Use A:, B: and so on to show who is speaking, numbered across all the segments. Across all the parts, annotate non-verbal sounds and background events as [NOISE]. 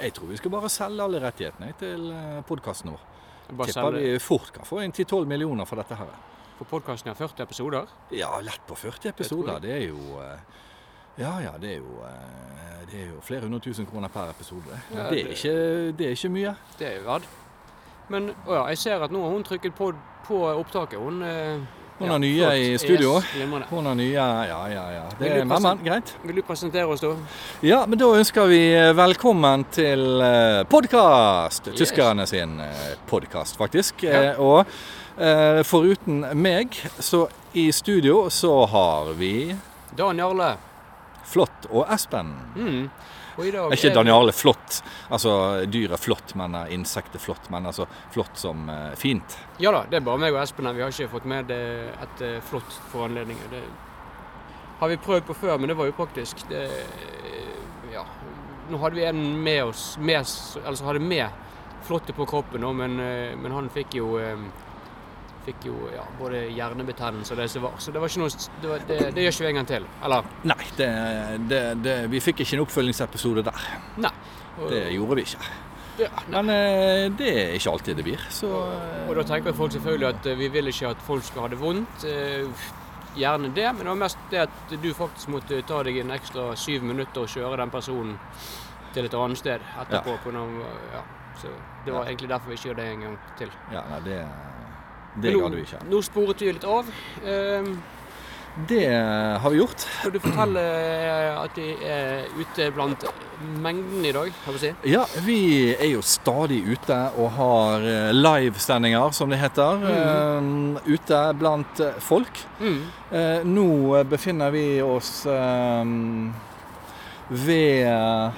A: Jeg tror vi skal bare selge alle rettighetene jeg, til podkasten vår.
B: Bare
A: Tipper
B: selge
A: vi fort kan få inn 10-12 millioner for dette her.
B: For podkasten har 40 episoder.
A: Ja, lett på 40 episoder. Det er jo eh, Ja ja, det er jo eh, Det er jo flere hundre tusen kroner per episode. det.
B: Ja,
A: det, er
B: det-
A: ikke, det er ikke mye.
B: Det er jo rad. Men å ja, jeg ser at nå har hun trykket på, på opptaket. Hun eh,
A: Hun
B: ja,
A: er nye
B: flott.
A: i studio.
B: Yes, glimrende.
A: Hun er nye Ja ja ja. Det
B: Vil du
A: er men,
B: presen-
A: men, greit.
B: Vil du presentere oss, da?
A: Ja, men da ønsker vi eh, velkommen til eh, podkast.
B: Yes.
A: Tyskerne sin eh, podkast, faktisk.
B: Ja.
A: Eh, Og eh, foruten meg, så i studio så har vi
B: Dan Jarle.
A: Flått og Espen.
B: Mm. Og i dag
A: Er ikke
B: er-
A: Daniale flott? Altså dyret flott, men eh, insektet flott. Men altså flott som eh, fint.
B: Ja da, det er bare meg og Espen her. Vi har ikke fått med eh, et eh, flott for anledningen. Det har vi prøvd på før, men det var upraktisk. Det, eh, ja. Nå hadde vi en med oss, med, s- altså hadde med flottet på kroppen, nå, men, eh, men han fikk jo eh, Fikk jo ja, både hjernebetennelse og det som var. Så det var ikke noe s- Det, var, det, det gjør ikke vi en gang til. Eller
A: Nei, det, det, det, vi fikk ikke en oppfølgingsepisode der.
B: Nei. Og,
A: Det gjorde vi ikke.
B: ja, nei.
A: Men eh, det er ikke alltid det blir, så eh,
B: og da tenker folk selvfølgelig at eh, vi vil ikke at folk skal ha det vondt. eh, Gjerne det, men det var mest det at du faktisk måtte ta deg en ekstra syv minutter og kjøre den personen til et annet sted etterpå. på noen- ja. Så det var
A: Ja.
B: egentlig derfor vi ikke gjorde det en gang til.
A: Ja, nei, det, det
B: Men
A: gadd vi
B: nå,
A: ikke.
B: nå sporet vi litt av. Eh,
A: Det har vi gjort.
B: Kan du fortelle eh, at vi er ute blant mengden i dag, kan vi si?
A: Ja, vi er jo stadig ute og har eh, livesendinger, som det heter, eh, ute blant eh, folk.
B: Mm.
A: Eh, Nå eh, befinner vi oss eh, ved eh,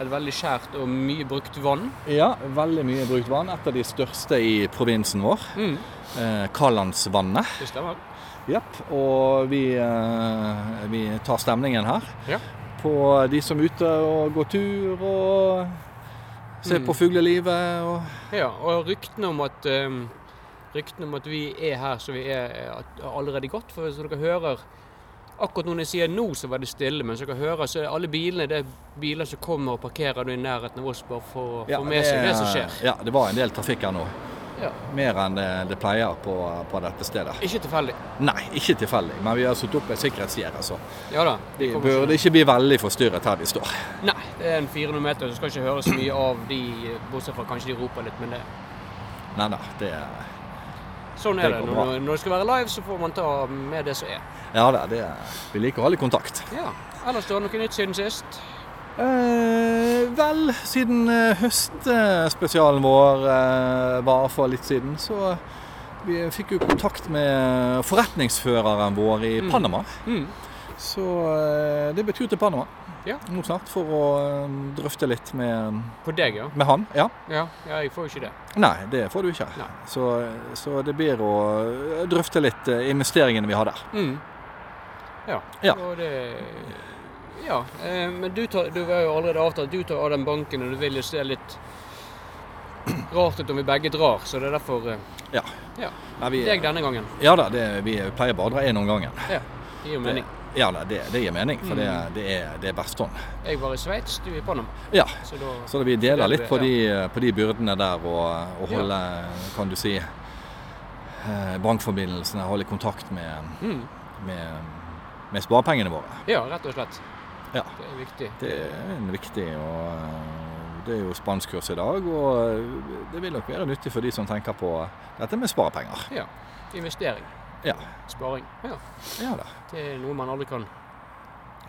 B: Et veldig skjært og mye brukt vann.
A: ja, veldig mye brukt vann. Et av de største i provinsen vår.
B: Mm.
A: eh, Kalandsvannet.
B: Det stemmer.
A: Jepp. Og vi, eh, vi tar stemningen her.
B: Ja.
A: På de som er ute og går tur og ser
B: Mm.
A: på fuglelivet og
B: Ja, og ryktene om at ehm, Ryktene om at vi er her som vi er, er at- er allerede gått. For som dere hører Akkurat når jeg sier nå, så var det stille, men som dere hører, så er alle bilene det er biler som kommer og parkerer nå i nærheten av oss bare for å få med seg det som skjer.
A: Ja, det var en del trafikk her nå.
B: Ja.
A: Mer enn det, det pleier på, på dette stedet.
B: Ikke tilfeldig.
A: Nei, ikke tilfeldig, men vi har satt opp et sikkerhetsgjerde, så
B: Ja da.
A: vi
B: kommer
A: burde
B: ikke-
A: ikke bli veldig forstyrret her vi står.
B: Nei, det er en 400 meter, så skal ikke høre så mye av de, eh, bortsett fra kanskje de roper litt, men det
A: Nei, nei, det
B: Sånn
A: Det
B: er det.
A: går bra.
B: Når, når det skal være live, så får man ta med det som er.
A: Ja da, det Vi liker å ha litt kontakt.
B: Ja. Ellers er det noe nytt siden sist.
A: Eh, vel, siden eh, høstspesialen vår eh, var for litt siden, så vi fikk jo kontakt med forretningsføreren vår i
B: Mm.
A: Panama.
B: Mm.
A: Så eh, det betyr til Panama
B: Ja.
A: nå snart for å eh, drøfte litt med,
B: På deg, ja.
A: med han. Ja.
B: ja. Ja, jeg får jo ikke det.
A: Nei, det får du ikke.
B: Nei.
A: Så, så det blir å drøfte litt eh, investeringene vi har der.
B: Mm. Ja.
A: Ja.
B: Og det Ja. eh, Men du, tar, du har jo allerede avtalt at du tar av den banken, og du vil jo se litt rart ut om vi begge drar, så det er derfor eh,
A: Nei, vi,
B: deg denne gangen.
A: ja da, det, vi pleier bare å dra én om gangen.
B: Det gir jo mening.
A: Det, ja da, det, det gir mening, for det,
B: Mm.
A: det, er, det er best sånn.
B: Jeg var i Sveits, du i Panama.
A: Ja.
B: Så da
A: Så vi deler
B: Det-
A: litt på
B: ja.
A: de, på de byrdene der og, og holde, kan du si, eh, bankforbindelsene, holde kontakt med,
B: mm.
A: med, med sparepengene våre.
B: Ja, rett og slett.
A: Ja.
B: Det er viktig.
A: Det er en viktig og eh, det er jo spanskkurs i dag, og eh, det vil nok være nyttig for de som tenker på dette med sparepenger.
B: Investering.
A: Ja.
B: Sparing. Ja.
A: Ja da.
B: Det er noe man aldri kan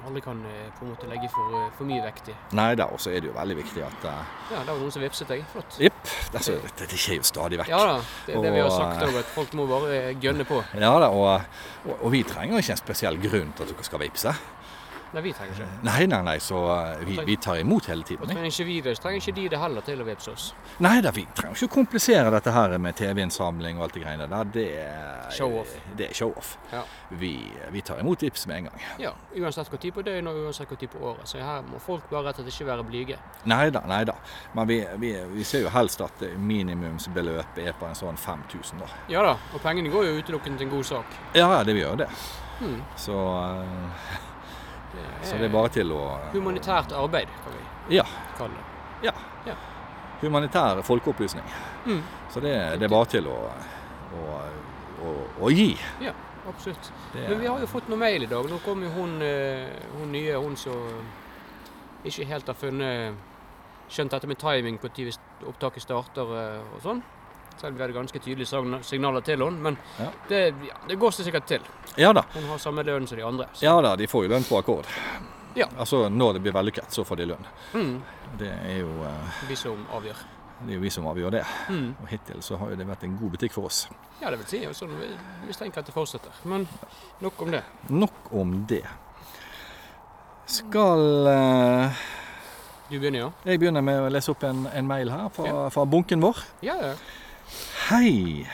B: Aldri kan eh, på en måte legge for, eh, for mye vekt i.
A: Nei da, og så er det jo veldig viktig at eh,
B: Ja, der var noen som vipset deg. Flott.
A: Jepp. Altså, dette det skjer jo stadig vekk.
B: Ja da. Det er det vi har
A: Og,
B: sagt
A: eh,
B: òg, at folk må bare eh, gønne på.
A: Ja da, og, og, og vi trenger ikke en spesiell grunn til at dere skal vippse.
B: Nei, vi trenger ikke det.
A: Nei, nei, nei, så eh, vi, vi tar imot hele tiden.
B: Og
A: vi.
B: trenger ikke vi det, så trenger ikke de det heller til å vippse oss.
A: Nei da, vi trenger ikke å komplisere dette her med TV-innsamling og alt det greiene der. Det er
B: Show-off.
A: Det er show-off.
B: Ja.
A: Vi, vi tar imot tips med en gang.
B: Ja, Uansett hvor tid på døgnet og uansett hvor tid på året. Så her må folk bare rett og slett ikke være blyge.
A: Nei da, nei da. Men vi, vi, vi ser jo helst at minimumsbeløpet er på en sånn 5000, da.
B: Ja da, og pengene går jo utelukkende til en god sak.
A: Ja, ja, det vi gjør det.
B: Hmm.
A: Så, eh, så det er bare til å
B: Humanitært arbeid, kan vi
A: Ja.
B: kalle det.
A: Ja.
B: Ja.
A: Humanitær folkeopplysning.
B: Mm,
A: Så det, det er bare til å, å, å, å gi.
B: absolutt.
A: Det,
B: Men vi har jo fått noe mail i dag. Nå kom jo hun, eh, hun nye, hun som ikke helt har funnet Skjønt dette med timing på når opptaket starter eh, og sånn. Selv om vi hadde ganske tydelige sagn- signaler til henne. Men
A: Ja.
B: det, ja, det går seg sikkert til.
A: ja da.
B: Hun har samme lønn som de andre. så-
A: Ja da, de får jo lønn på akkord.
B: Ja.
A: Altså når det blir vellykket, så får de lønn.
B: Mm,
A: Det er jo, eh,
B: vi som avgjør.
A: det er jo vi som avgjør det.
B: Mm.
A: Og hittil så har jo det vært en god butikk for oss.
B: Ja, det vil si. og Sånn, vi mistenker at det fortsetter. Men nok om det.
A: Nok om det. Skal eh,
B: Du begynner, ja?
A: jeg begynne med å lese opp en, en mail her fra, fra bunken vår?
B: Ja, ja.
A: Hei!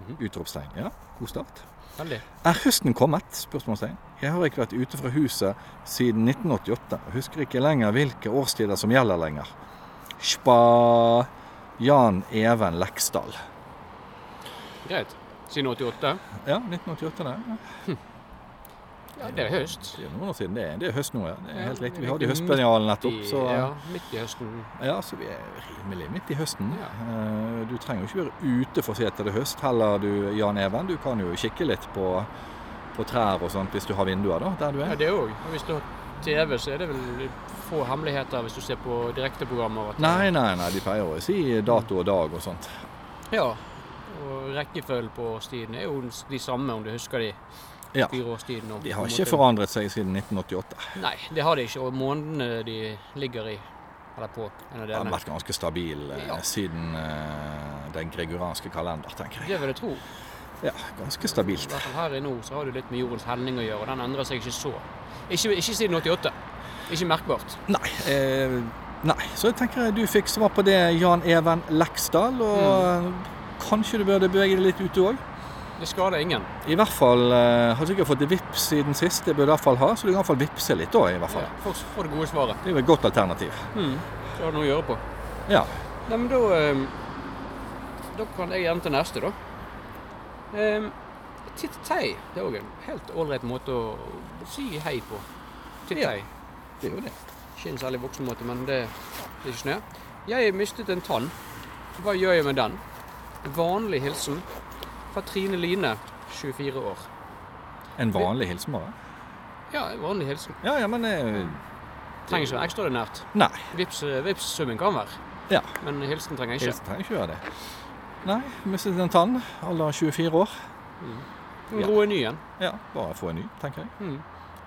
B: Mhm.
A: Utropstegn. Ja, god start.
B: Veldig.
A: Er høsten kommet? Spørsmålstegn. Jeg har ikke vært ute fra huset siden 1988. og Husker ikke lenger hvilke årstider som gjelder lenger. Spa Jan Even Leksdal.
B: Greit. Siden 88?
A: Ja, 1988 det.
B: Ja, det er høst.
A: Det er noen år siden. Det er, det er høst nå, ja. Det er
B: Ja,
A: helt riktig. Vi
B: det er
A: hadde jo
B: midt i-
A: høstpenjalen nettopp,
B: I,
A: så
B: ja, midt i høsten.
A: ja, så vi er rimelig midt i høsten. Eh, Du trenger jo ikke være ute for å se etter det høst heller, du Jan Even. Du kan jo kikke litt på, på trær og sånt hvis du har vinduer da, der du er.
B: Ja, det òg. Og hvis du har TV, så er det vel få hemmeligheter hvis du ser på direkteprogrammer. at-
A: Nei, nei, nei, de pleier å si dato og dag og sånt.
B: Ja. Og rekkefølgen på årstiden er jo de samme, om du husker de
A: Ja.
B: fire årstidene. og-
A: De har
B: på en
A: ikke
B: måte-
A: forandret seg siden 1988.
B: Nei, det har de ikke. Og månedene de ligger i, eller på, en av
A: Det har
B: delene.
A: vært ganske stabil eh,
B: Ja.
A: siden eh, den gregoranske kalender, tenker jeg.
B: Det vil jeg tro.
A: Ja, ganske
B: I
A: stabilt.
B: hvert fall her i nord så har du litt med jordens hending å gjøre. og Den endrer seg ikke så. Ikke, ikke siden 88. Ikke merkbart.
A: Nei, eh, nei. Så jeg tenker du fikk svar på det, Jan Even Leksdal, og
B: Mm.
A: kanskje du burde bevege deg litt ute òg.
B: Det skader ingen.
A: I hvert fall eh, har du sikkert fått vips siden sist, det bør du i hvert fall ha, så du kan i hvert fall vippse litt da, i hvert fall.
B: Ja, folk får det gode svaret.
A: Det er jo et godt alternativ.
B: Mm. Så har du noe å gjøre på.
A: Ja.
B: Nei, men da ehm, Da kan jeg gjerne til neste, da. Um, titt tei. Det er òg en helt ålreit måte å si hei på. Titt
A: Ja.
B: tei.
A: Det er jo det.
B: Ikke en særlig voksen måte, men det, det er ikke snø. Jeg har mistet en tann. Hva gjør jeg med den? Vanlig hilsen fra Trine Line, 24 år.
A: En vanlig hilsen bare.
B: Ja, en vanlig hilsen.
A: Ja, ja, men eh,
B: Trenger ikke være ekstraordinært.
A: Nei.
B: Vips, eh, Vips-summen kan være,
A: Ja.
B: men hilsen trenger jeg ikke.
A: Hilsen trenger ikke gjøre det. Nei, mistet en tann, alder 24 år. Ja.
B: Mm. Roe ny en.
A: Ja, bare få en ny, tenker jeg.
B: Mm.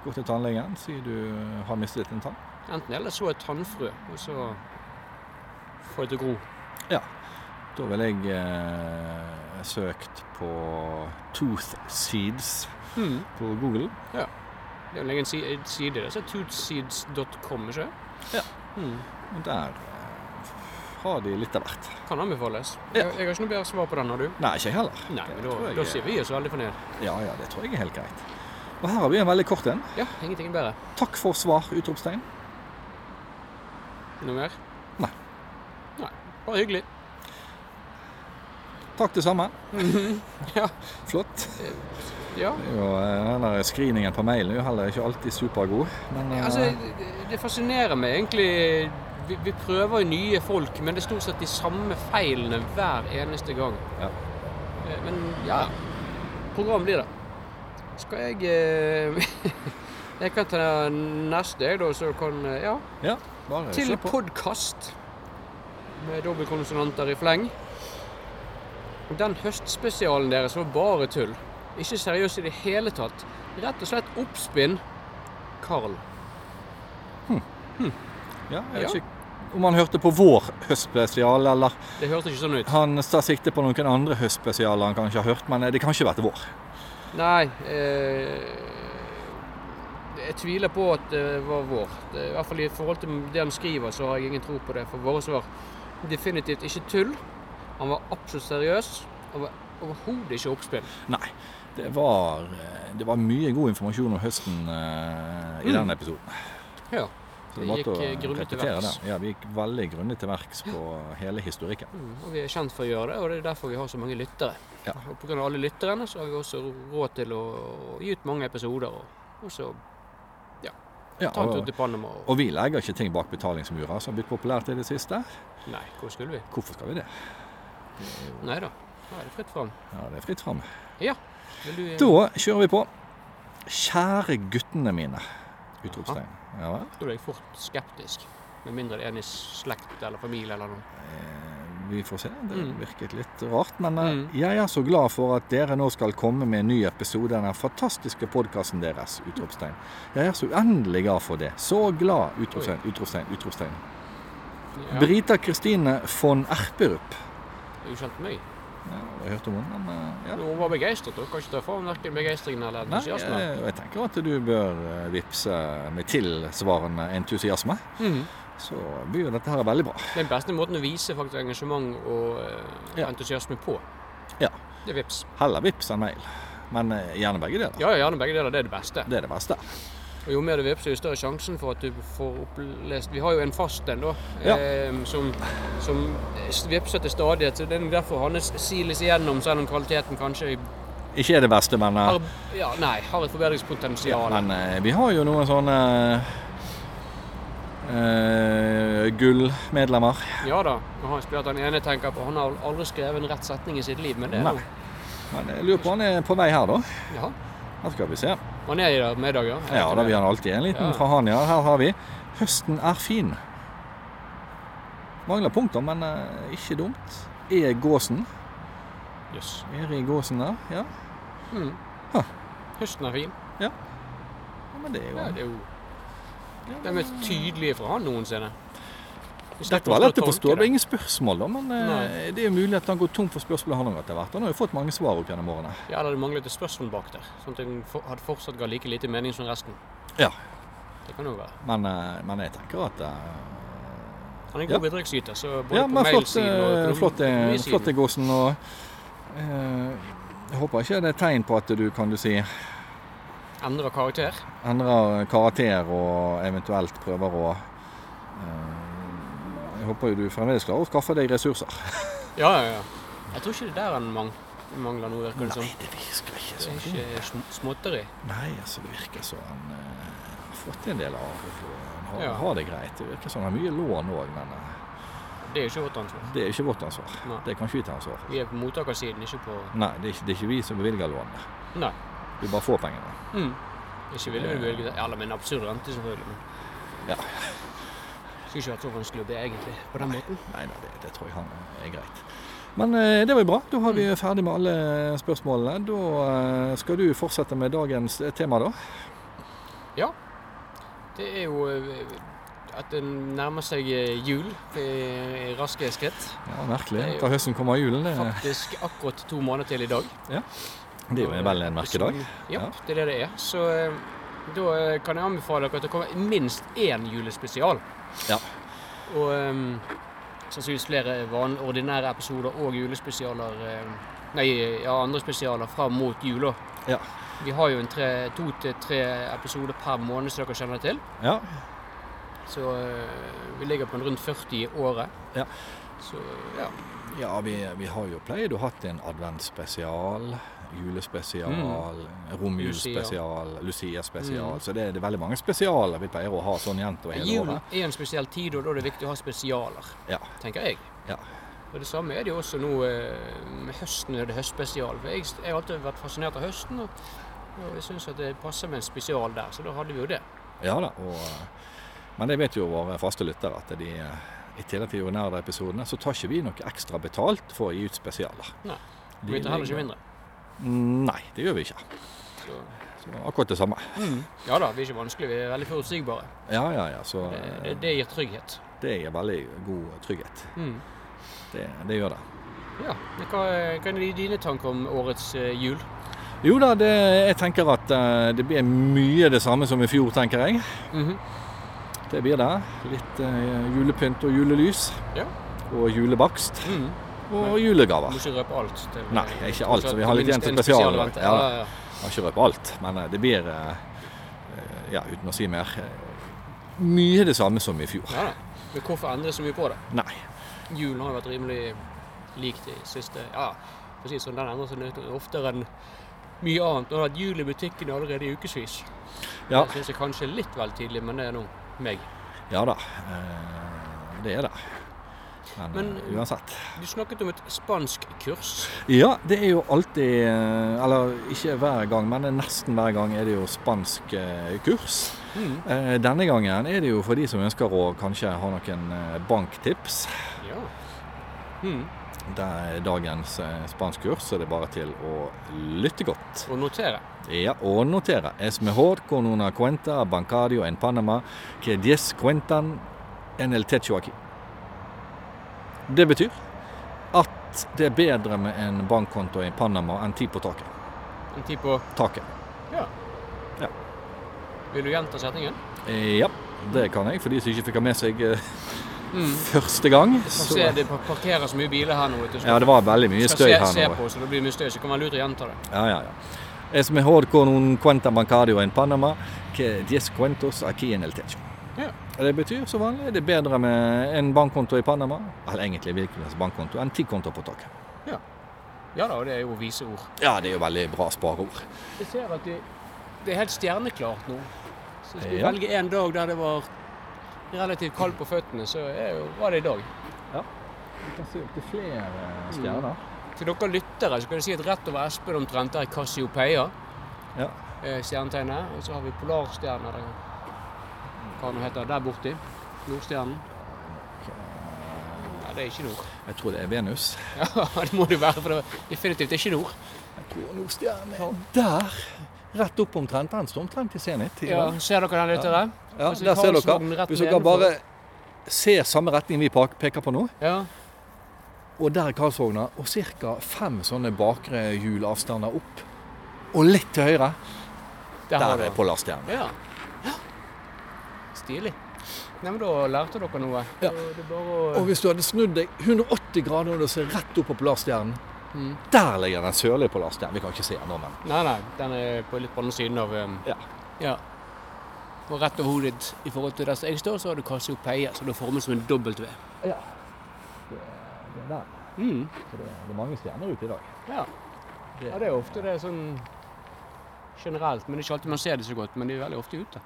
A: Gå til tannlegen, si du har mistet en tann.
B: Enten eller så et tannfrø, og så få det til å gro.
A: Da ville jeg eh, søkt på tooth seeds på Google.
B: Det er jo en egen si- en side der, så tootseeds.com, ikke
A: Ja.
B: Mm.
A: Og der eh, har de litt av hvert.
B: Kan anbefales.
A: Ja.
B: Jeg, jeg har ikke noe bedre svar på den, har du?
A: Nei, ikke jeg heller.
B: Nei, men da,
A: tror jeg-
B: da sier vi oss veldig fornøyd.
A: Ja, ja, det tror jeg er helt greit. Og her har vi en veldig kort en.
B: Ja, ingenting er bedre.
A: Takk for svar, utropstegn.
B: Noe mer?
A: Nei.
B: Nei. Bare hyggelig.
A: Takk det samme.
B: [LAUGHS] Ja.
A: Flott.
B: Ja.
A: Det er jo, eh, den der screeningen på mailen er jo heller ikke alltid supergod. Men eh,
B: Altså, det- det fascinerer meg egentlig. Vi, vi prøver jo nye folk, men det er stort sett de samme feilene hver eneste gang.
A: Ja.
B: Eh, Men ja, program blir det. Skal jeg eh, [LAUGHS] Jeg kan ta neste, jeg, da, så kan eh, Ja.
A: ja, bare
B: Til
A: kjør på.
B: podkast med dobbeltkonsonanter i fleng. Den høstspesialen deres var bare tull. Ikke seriøs i det hele tatt. Rett og slett oppspinn. Karl.
A: Ja, jeg vet
B: Ja.
A: ikke om han hørte på vår høstspesial, eller
B: Det hørtes ikke sånn ut.
A: han tar sikte på noen andre høstspesialer han kanskje har hørt, men eh, det kan ikke vært vår.
B: Nei eh, Jeg tviler på at det var vår. Det, I hvert fall i forhold til det han skriver, så har jeg ingen tro på det. For våre svar definitivt ikke tull. Han var absolutt seriøs. Og var overhodet ikke oppspill.
A: Nei. Det var, eh, det var mye god informasjon om høsten eh, i
B: Mm.
A: den episoden.
B: Ja.
A: Så det
B: Vi
A: var til
B: gikk,
A: å
B: eh, grundig til
A: repetere
B: verks.
A: det. Ja, vi gikk veldig grundig til verks på hele historikken.
B: Mm, og vi er kjent for å gjøre det, og det er derfor vi har så mange lyttere.
A: Ja.
B: Og pga. alle lytterne så har vi også råd til å gi ut mange episoder. Og, og så ja,
A: Ja,
B: Ta en tur
A: og,
B: til Panama og
A: og vi legger ikke ting bak betalingsmurer, som har blitt populært i det siste.
B: Nei, hvor skulle vi?
A: Hvorfor skal vi det?
B: Nei da. Nå er det fritt fram.
A: Ja, det er fritt fram.
B: Vil du
A: Da kjører vi på. Kjære guttene mine. Utropstegn. Ja vel.
B: Da er jeg fort skeptisk. Med mindre det er en i slekt eller familie eller noe.
A: Eh, Vi får se. Det
B: Mm.
A: virket litt rart. Men eh,
B: Mm.
A: jeg er så glad for at dere nå skal komme med en ny episode av den fantastiske podkasten deres. Utropstegn. Jeg er så uendelig glad for det. Så glad! Utropstegn, utropstegn, utropstegn.
B: Ja, det
A: Brita Kristine von Erperup.
B: er jo kjent meg.
A: Ja, jeg har hørt om henne, men eh, ja.
B: Nå var begeistret, da. Kan ikke ta fra henne verken begeistringen eller
A: Nei, jeg,
B: entusiasmen.
A: jeg tenker at du bør eh, vippse med tilsvarende entusiasme.
B: Mhm.
A: Så blir jo dette her veldig bra.
B: Den beste måten å vise faktisk engasjement og eh,
A: Ja.
B: entusiasme på,
A: Ja.
B: det er vips.
A: Heller vips enn mail. Men eh, gjerne begge deler.
B: Ja, ja, gjerne begge deler. Det er det beste.
A: Det er det beste.
B: Og Jo mer du vipser, jo større sjansen for at du får opplest Vi har jo en fast en, da,
A: Ja.
B: eh, som, som vipser til stadighet. så Det er nok derfor hans siles igjennom, selv om kvaliteten kanskje
A: Ikke er det beste, men, eh,
B: har, ja, nei, har et forbedringspotensial.
A: men eh, vi har jo noen sånne eh, gullmedlemmer.
B: Ja da. Og han spiller at han ene tenker på Han har aldri skrevet en rett setning i sitt liv, men det er
A: Nei.
B: jo
A: Men jeg lurer på han er på vei her, da.
B: ja.
A: Her skal vi se.
B: Han er i dag middag, ja.
A: Ja, da blir han alltid en liten
B: Ja.
A: fra han, ja. Her har vi 'Høsten er fin'. Mangler punkter, men eh, ikke dumt. Er gåsen.
B: Yes.
A: Eri Gåsen der, ja.
B: Mm.
A: Huh.
B: Høsten er fin.
A: ja men det er jo
B: Ja, det er jo Det er mest tydelige fra han noensinne. Vi
A: Dette
B: slipper
A: var
B: stå
A: lett å
B: og
A: forstå.
B: tolke
A: Det er ingen spørsmål, da. Men eh,
B: Nei.
A: det er jo mulig at han går tom for spørsmål han har etter hvert. Han har jo fått mange svar opp gjennom årene.
B: Ja, eller det manglet et spørsmål bak der. Sånn at den for, hadde fortsatt ga like lite mening som resten.
A: Ja.
B: Det kan jo være.
A: Men, eh, men jeg tenker at eh,
B: Han er en
A: Ja.
B: god bidragsyter, så både
A: Ja,
B: på
A: men flott,
B: mailsiden og
A: eh,
B: økonom-
A: flott, eh,
B: økonomisiden.
A: flott er Gåsen. Og eh, jeg håper ikke det er tegn på at du kan du si eh.
B: Endrer karakter.
A: endrer karakter og eventuelt prøver å eh, Jeg håper jo du fremdeles klarer å skaffe deg ressurser.
B: Ja, ja, ja. Jeg tror ikke det er der han mang mangler noe, virker det som.
A: det virker ikke sånn.
B: Det er ikke sånn. sm småtteri.
A: Nei, altså det virker som han eh, har fått en del av Han har,
B: Ja.
A: har det greit. Det virker som han har mye lån òg, men eh,
B: Det er jo ikke vårt ansvar.
A: det er jo ikke vårt ansvar.
B: Nei.
A: Det kan ikke vi ta ansvar for.
B: Vi er på mottakersiden, ikke på
A: Nei, det er ikke, det er ikke vi som bevilger lånene.
B: Nei.
A: Vi bare får pengene.
B: Mm. Eh. Ikke ville vi bevilget Eller med en absurd rente, selvfølgelig. Men...
A: Ja.
B: Skulle ikke vært så vanskelig å be, egentlig, på den måten.
A: Nei, nei det, det tror jeg han eh, er greit. Men eh, det var jo bra. Da har vi ferdig med alle spørsmålene. Da eh, skal du fortsette med dagens eh, tema, da.
B: Det er jo eh, at det nærmer seg eh, jul i i raske skritt.
A: Ja, Merkelig.
B: Det er jo-
A: Etter høsten kommer julen. Det,
B: Faktisk akkurat to måneder til i dag.
A: det er jo vel en merkedag.
B: Som- Ja,
A: Ja.
B: det er det det er. Så eh, da eh, kan jeg anbefale dere at det kommer minst én julespesial.
A: Ja.
B: Og eh, sannsynligvis flere van ordinære episoder og julespesialer eh, Nei, ja, andre spesialer fram mot jula.
A: Ja.
B: Vi har jo en tre, to til tre episoder per måned som dere kjenner til.
A: Ja.
B: Så eh, vi ligger på en rundt 40 i året.
A: Ja.
B: Så ja.
A: Ja, vi, vi har jo pleid å hatt en adventsspesial, julespesial, romjulsspesial, Lucia-spesial.
B: Mm.
A: Så det, er- det er veldig mange spesialer vi pleier å ha sånn jevnt over hele
B: Jul
A: året.
B: er en spesiell tid, og da er det viktig å ha spesialer,
A: Ja.
B: tenker jeg.
A: Ja.
B: Og Det samme er det jo også nå eh, med høsten, er det høstspesial. For jeg, jeg har alltid vært fascinert av høsten, og, og jeg syns det passer med en spesial der, så da hadde vi jo det.
A: Ja da, og, eh, men det vet jo våre faste lyttere at de, eh, i tillegg til de ordinære episodene, så tar ikke vi noe ekstra betalt for å gi ut spesialer.
B: Nei.
A: De
B: Vi tar heller ikke
A: ligger-
B: mindre.
A: Nei, det gjør vi ikke.
B: Så,
A: Så akkurat det samme.
B: ja da, vi er ikke vanskelige, vi er veldig forutsigbare.
A: Ja, ja, ja. Så
B: Det,
A: eh,
B: det, det gir trygghet.
A: det er veldig god trygghet.
B: Mm.
A: Det, det gjør det.
B: Ja. men Hva, hva er dine tanker om årets eh, jul?
A: Jo da, det, jeg tenker at eh, det blir mye det samme som i fjor, tenker jeg.
B: Mhm.
A: Det blir det. Litt eh, julepynt og julelys.
B: Ja.
A: Og julebakst.
B: Mhm.
A: Og
B: Nei.
A: julegaver.
B: Må ikke røpe alt. Til,
A: Nei, ikke alt, så vi har litt
B: minst
A: igjen til
B: en
A: spesial.
B: spesialvent.
A: Ja, da.
B: Ja, ja, ja.
A: Jeg har ikke røpet alt, men eh, det blir eh, eh, Ja, uten å si mer. eh, Mye det samme som i fjor.
B: Ja, da. Men hvorfor endre så mye på det?
A: Nei.
B: Julen har jo vært rimelig lik de siste Ja, for å si det sånn, den endrer seg nødt- oftere enn mye annet. Og det har vært jul i butikkene allerede i ukevis.
A: Ja.
B: Det syns jeg kanskje er litt vel tidlig, men det er nå meg.
A: Ja da. eh, Det er det. Men,
B: Men-
A: eh, uansett.
B: Du snakket om et spansk kurs.
A: Ja, det er jo alltid eh, Eller ikke hver gang, men nesten hver gang er det jo spansk eh, kurs.
B: Hmm,
A: Eh, Denne gangen er det jo for de som ønsker å kanskje ha noen eh, banktips.
B: Ja. Mm.
A: Det er dagens eh, spanskkurs, så det er bare til å lytte godt.
B: Og notere.
A: Ja, og notere. Es mejor con una cuenta bancario en Panama que 10 cuentan en el techo aquí. Det betyr at det er bedre med en bankkonto i Panama enn ti på taket.
B: En tid på
A: taket.
B: Vil du gjenta setningen?
A: Eh, Ja, det kan jeg, for de som ikke fikk det med seg eh,
B: Mm.
A: første gang.
B: Så
A: Så,
B: ser det par- parkerer så mye biler her nå. Vet du, så
A: ja, det var veldig mye
B: skal
A: støy
B: se,
A: her
B: se
A: nå.
B: på, så det blir mye støy. Så kan man lurt å gjenta det.
A: Ja, ja, ja. Es mejor con un cuenta bancario en Panama que 10 cuentos aquí en el techo.
B: Ja.
A: Det betyr som vanlig det er bedre med en bankkonto i Panama, eller egentlig hvilken helst bankkonto, enn ti kontoer på taket.
B: Ja da, og det er jo vise ord.
A: Ja, det er jo veldig bra spareord.
B: Jeg ser at det, det er helt stjerneklart nå. Så skal vi
A: Ja.
B: velge en dag der det var relativt kaldt på føttene, så er jo, var det i dag.
A: Vi kan se opptil flere
B: stjerner.
A: Mm.
B: Til dere lyttere så kan jeg si at rett over Espen omtrent der er Cassiopeia,
A: Ja.
B: eh, stjernetegnet. Og så har vi Polarstjerna der, hva den heter, der borti. Nordstjernen. Nei, det er ikke nord. [LAUGHS]
A: Jeg tror det er Venus.
B: Ja, det må det være, for det er definitivt ikke nord.
A: Jeg tror Nordstjernen er der. Rett opp omtrent. Den står omtrent i senit.
B: Ja, ser dere den litt der?
A: Ja,
B: Altså,
A: der ser
B: Karlsvognen
A: dere.
B: rett
A: Hvis
B: nedenfor.
A: dere bare ser samme retning vi pak- peker på nå,
B: Ja.
A: og der er Karlsvogna, og ca. fem sånne bakre hjulavstander opp, og litt til høyre,
B: Der,
A: der
B: har dere.
A: er Polarstjernen.
B: Ja. ja. Stilig. Nei, men Da lærte dere noe.
A: Ja.
B: Og Det er bare å
A: Og hvis du hadde snudd deg 180 grader og du ser rett opp på Polarstjernen,
B: Mm.
A: der ligger den sørlige Polarstjernen. Vi kan ikke se den nå, men
B: Nei, nei. Den er på litt på andre siden av um,
A: Ja.
B: ja. Og rett over hodet ditt i forhold til der jeg står, så har du Cassiopeia, så du er formet som en W.
A: ja. Det er der.
B: Mm.
A: Så det er mange stjerner ute i dag.
B: Ja. ja, det er ofte det er sånn generelt. Men det er ikke alltid man ser det så godt, men de er veldig ofte ute.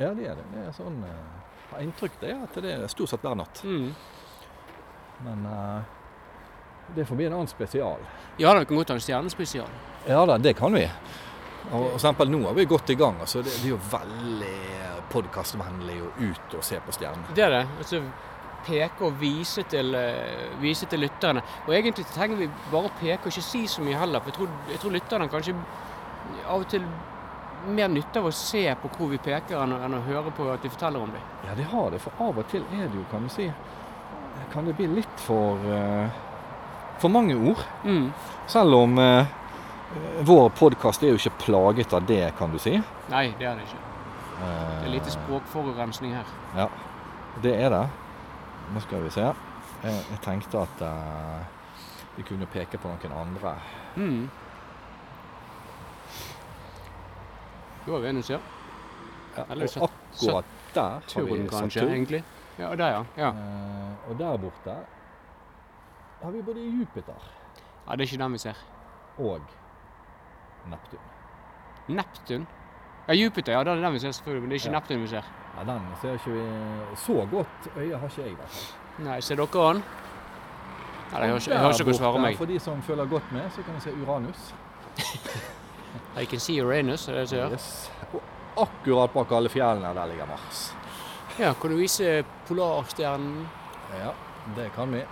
A: Ja, det er det. Det er sånn eh, har Inntrykk det er at det er stort sett hver natt.
B: Mm.
A: Men eh, det er forbi en annen spesial.
B: Ja, da, vi kan godt ha en stjernespesial.
A: Ja da, det kan vi. Og for eksempel nå er vi godt i gang. Altså, det, det er jo veldig podkastvennlig å ut og se på stjernene.
B: Det er det. Altså, peke og vise til, eh, vise til lytterne. Og egentlig trenger vi bare å peke og ikke si så mye heller. For jeg tror, jeg tror lytterne kanskje av og til mer nytte av å se på hvor vi peker, enn, å- enn å høre på at vi forteller om det.
A: Ja, de har det, for av og til er det jo, kan du si Kan det bli litt for eh, For mange ord.
B: Mm.
A: Selv om eh, vår podkast er jo ikke plaget av det, kan du si.
B: Nei, det er det ikke.
A: Eh,
B: Det er lite språkforurensning her.
A: Ja, Eh, det er det. Nå skal vi se. Jeg, jeg tenkte at eh, vi kunne peke på noen andre.
B: Mm. Da er Venus, ja.
A: Ja,
B: Eller
A: og
B: Sat-
A: akkurat der har vi
B: Turen, kanskje,
A: Saturn.
B: egentlig. Ja, der, ja. ja.
A: Eh, og der borte har vi både Jupiter
B: Ja, det er ikke den vi ser.
A: og Neptun.
B: Neptun. Ja, Jupiter, ja, det er den vi ser, selvfølgelig. Men det er ikke
A: Ja.
B: Neptun vi ser.
A: Ja, den ser ikke vi så godt. Øyet har ikke jeg, i hvert fall.
B: Nei, ser dere han? Nei, jeg hører ikke, jeg hører ikke
A: Der
B: hva svarer
A: borte,
B: meg.
A: For de som følger godt med, så kan vi se Uranus.
B: I can see Uranus, er det det som gjør?
A: Yes. Og akkurat bak alle fjellene, der ligger Mars.
B: Ja, kan du vise polarstjernen?
A: Ja, det kan vi.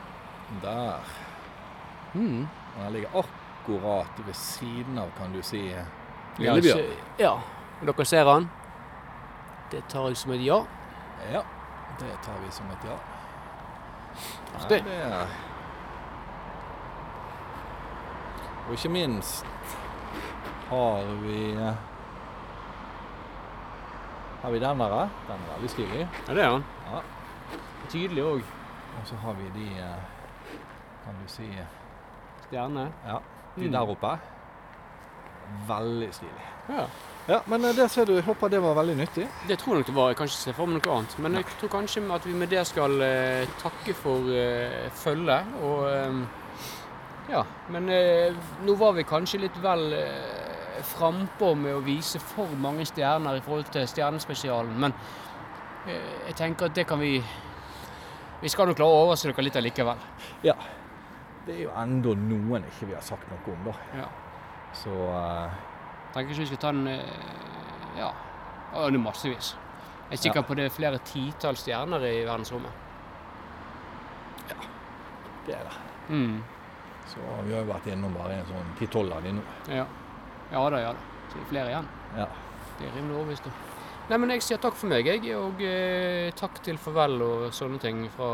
A: Der.
B: Mm.
A: Den ligger akkurat ved siden av, kan du si.
B: Ja,
A: Lillebjørn.
B: se- ja. Og dere ser han? Det tar jeg som et ja.
A: Ja, det tar vi som et ja.
B: Artig.
A: Nei, det er- Og ikke minst har vi Har vi den der. eh? Den er veldig stilig.
B: Ja, det er han.
A: Ja.
B: Tydelig òg.
A: Og så har vi de eh, Kan du si
B: Stjerne.
A: Ja, de
B: Mm.
A: der oppe. Veldig stilig.
B: Ja.
A: Ja, men eh, det ser du. Jeg håper det var veldig nyttig.
B: Det tror jeg nok det var. Jeg kan ikke se for meg noe annet. Men jeg tror kanskje at vi med det skal eh, takke for eh, følget. Og eh, ja. Men eh, nå var vi kanskje litt vel eh, frampå med å vise for mange stjerner i forhold til Stjernespesialen, men eh, jeg tenker at det kan vi Vi skal nok klare å overraske dere litt allikevel.
A: Det er jo enda noen ikke vi har sagt noe om, da.
B: Ja.
A: Så eh,
B: Tenker ikke vi skal ta en eh, Ja, Å, det er massevis. Jeg er sikker på det er flere titalls stjerner i verdensrommet.
A: det er det.
B: Mm.
A: Så vi har jo vært innom bare en sånn ti-tolv av de nå.
B: Ja. ja da, ja da. Så det er flere igjen.
A: Ja.
B: Det er rimelig overbevist om. Nei, men jeg sier takk for meg, jeg. Og eh, takk til farvel og sånne ting fra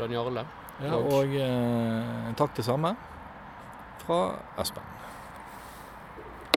B: Dan Jarle.
A: Ja, og eh, takk det samme fra Espen.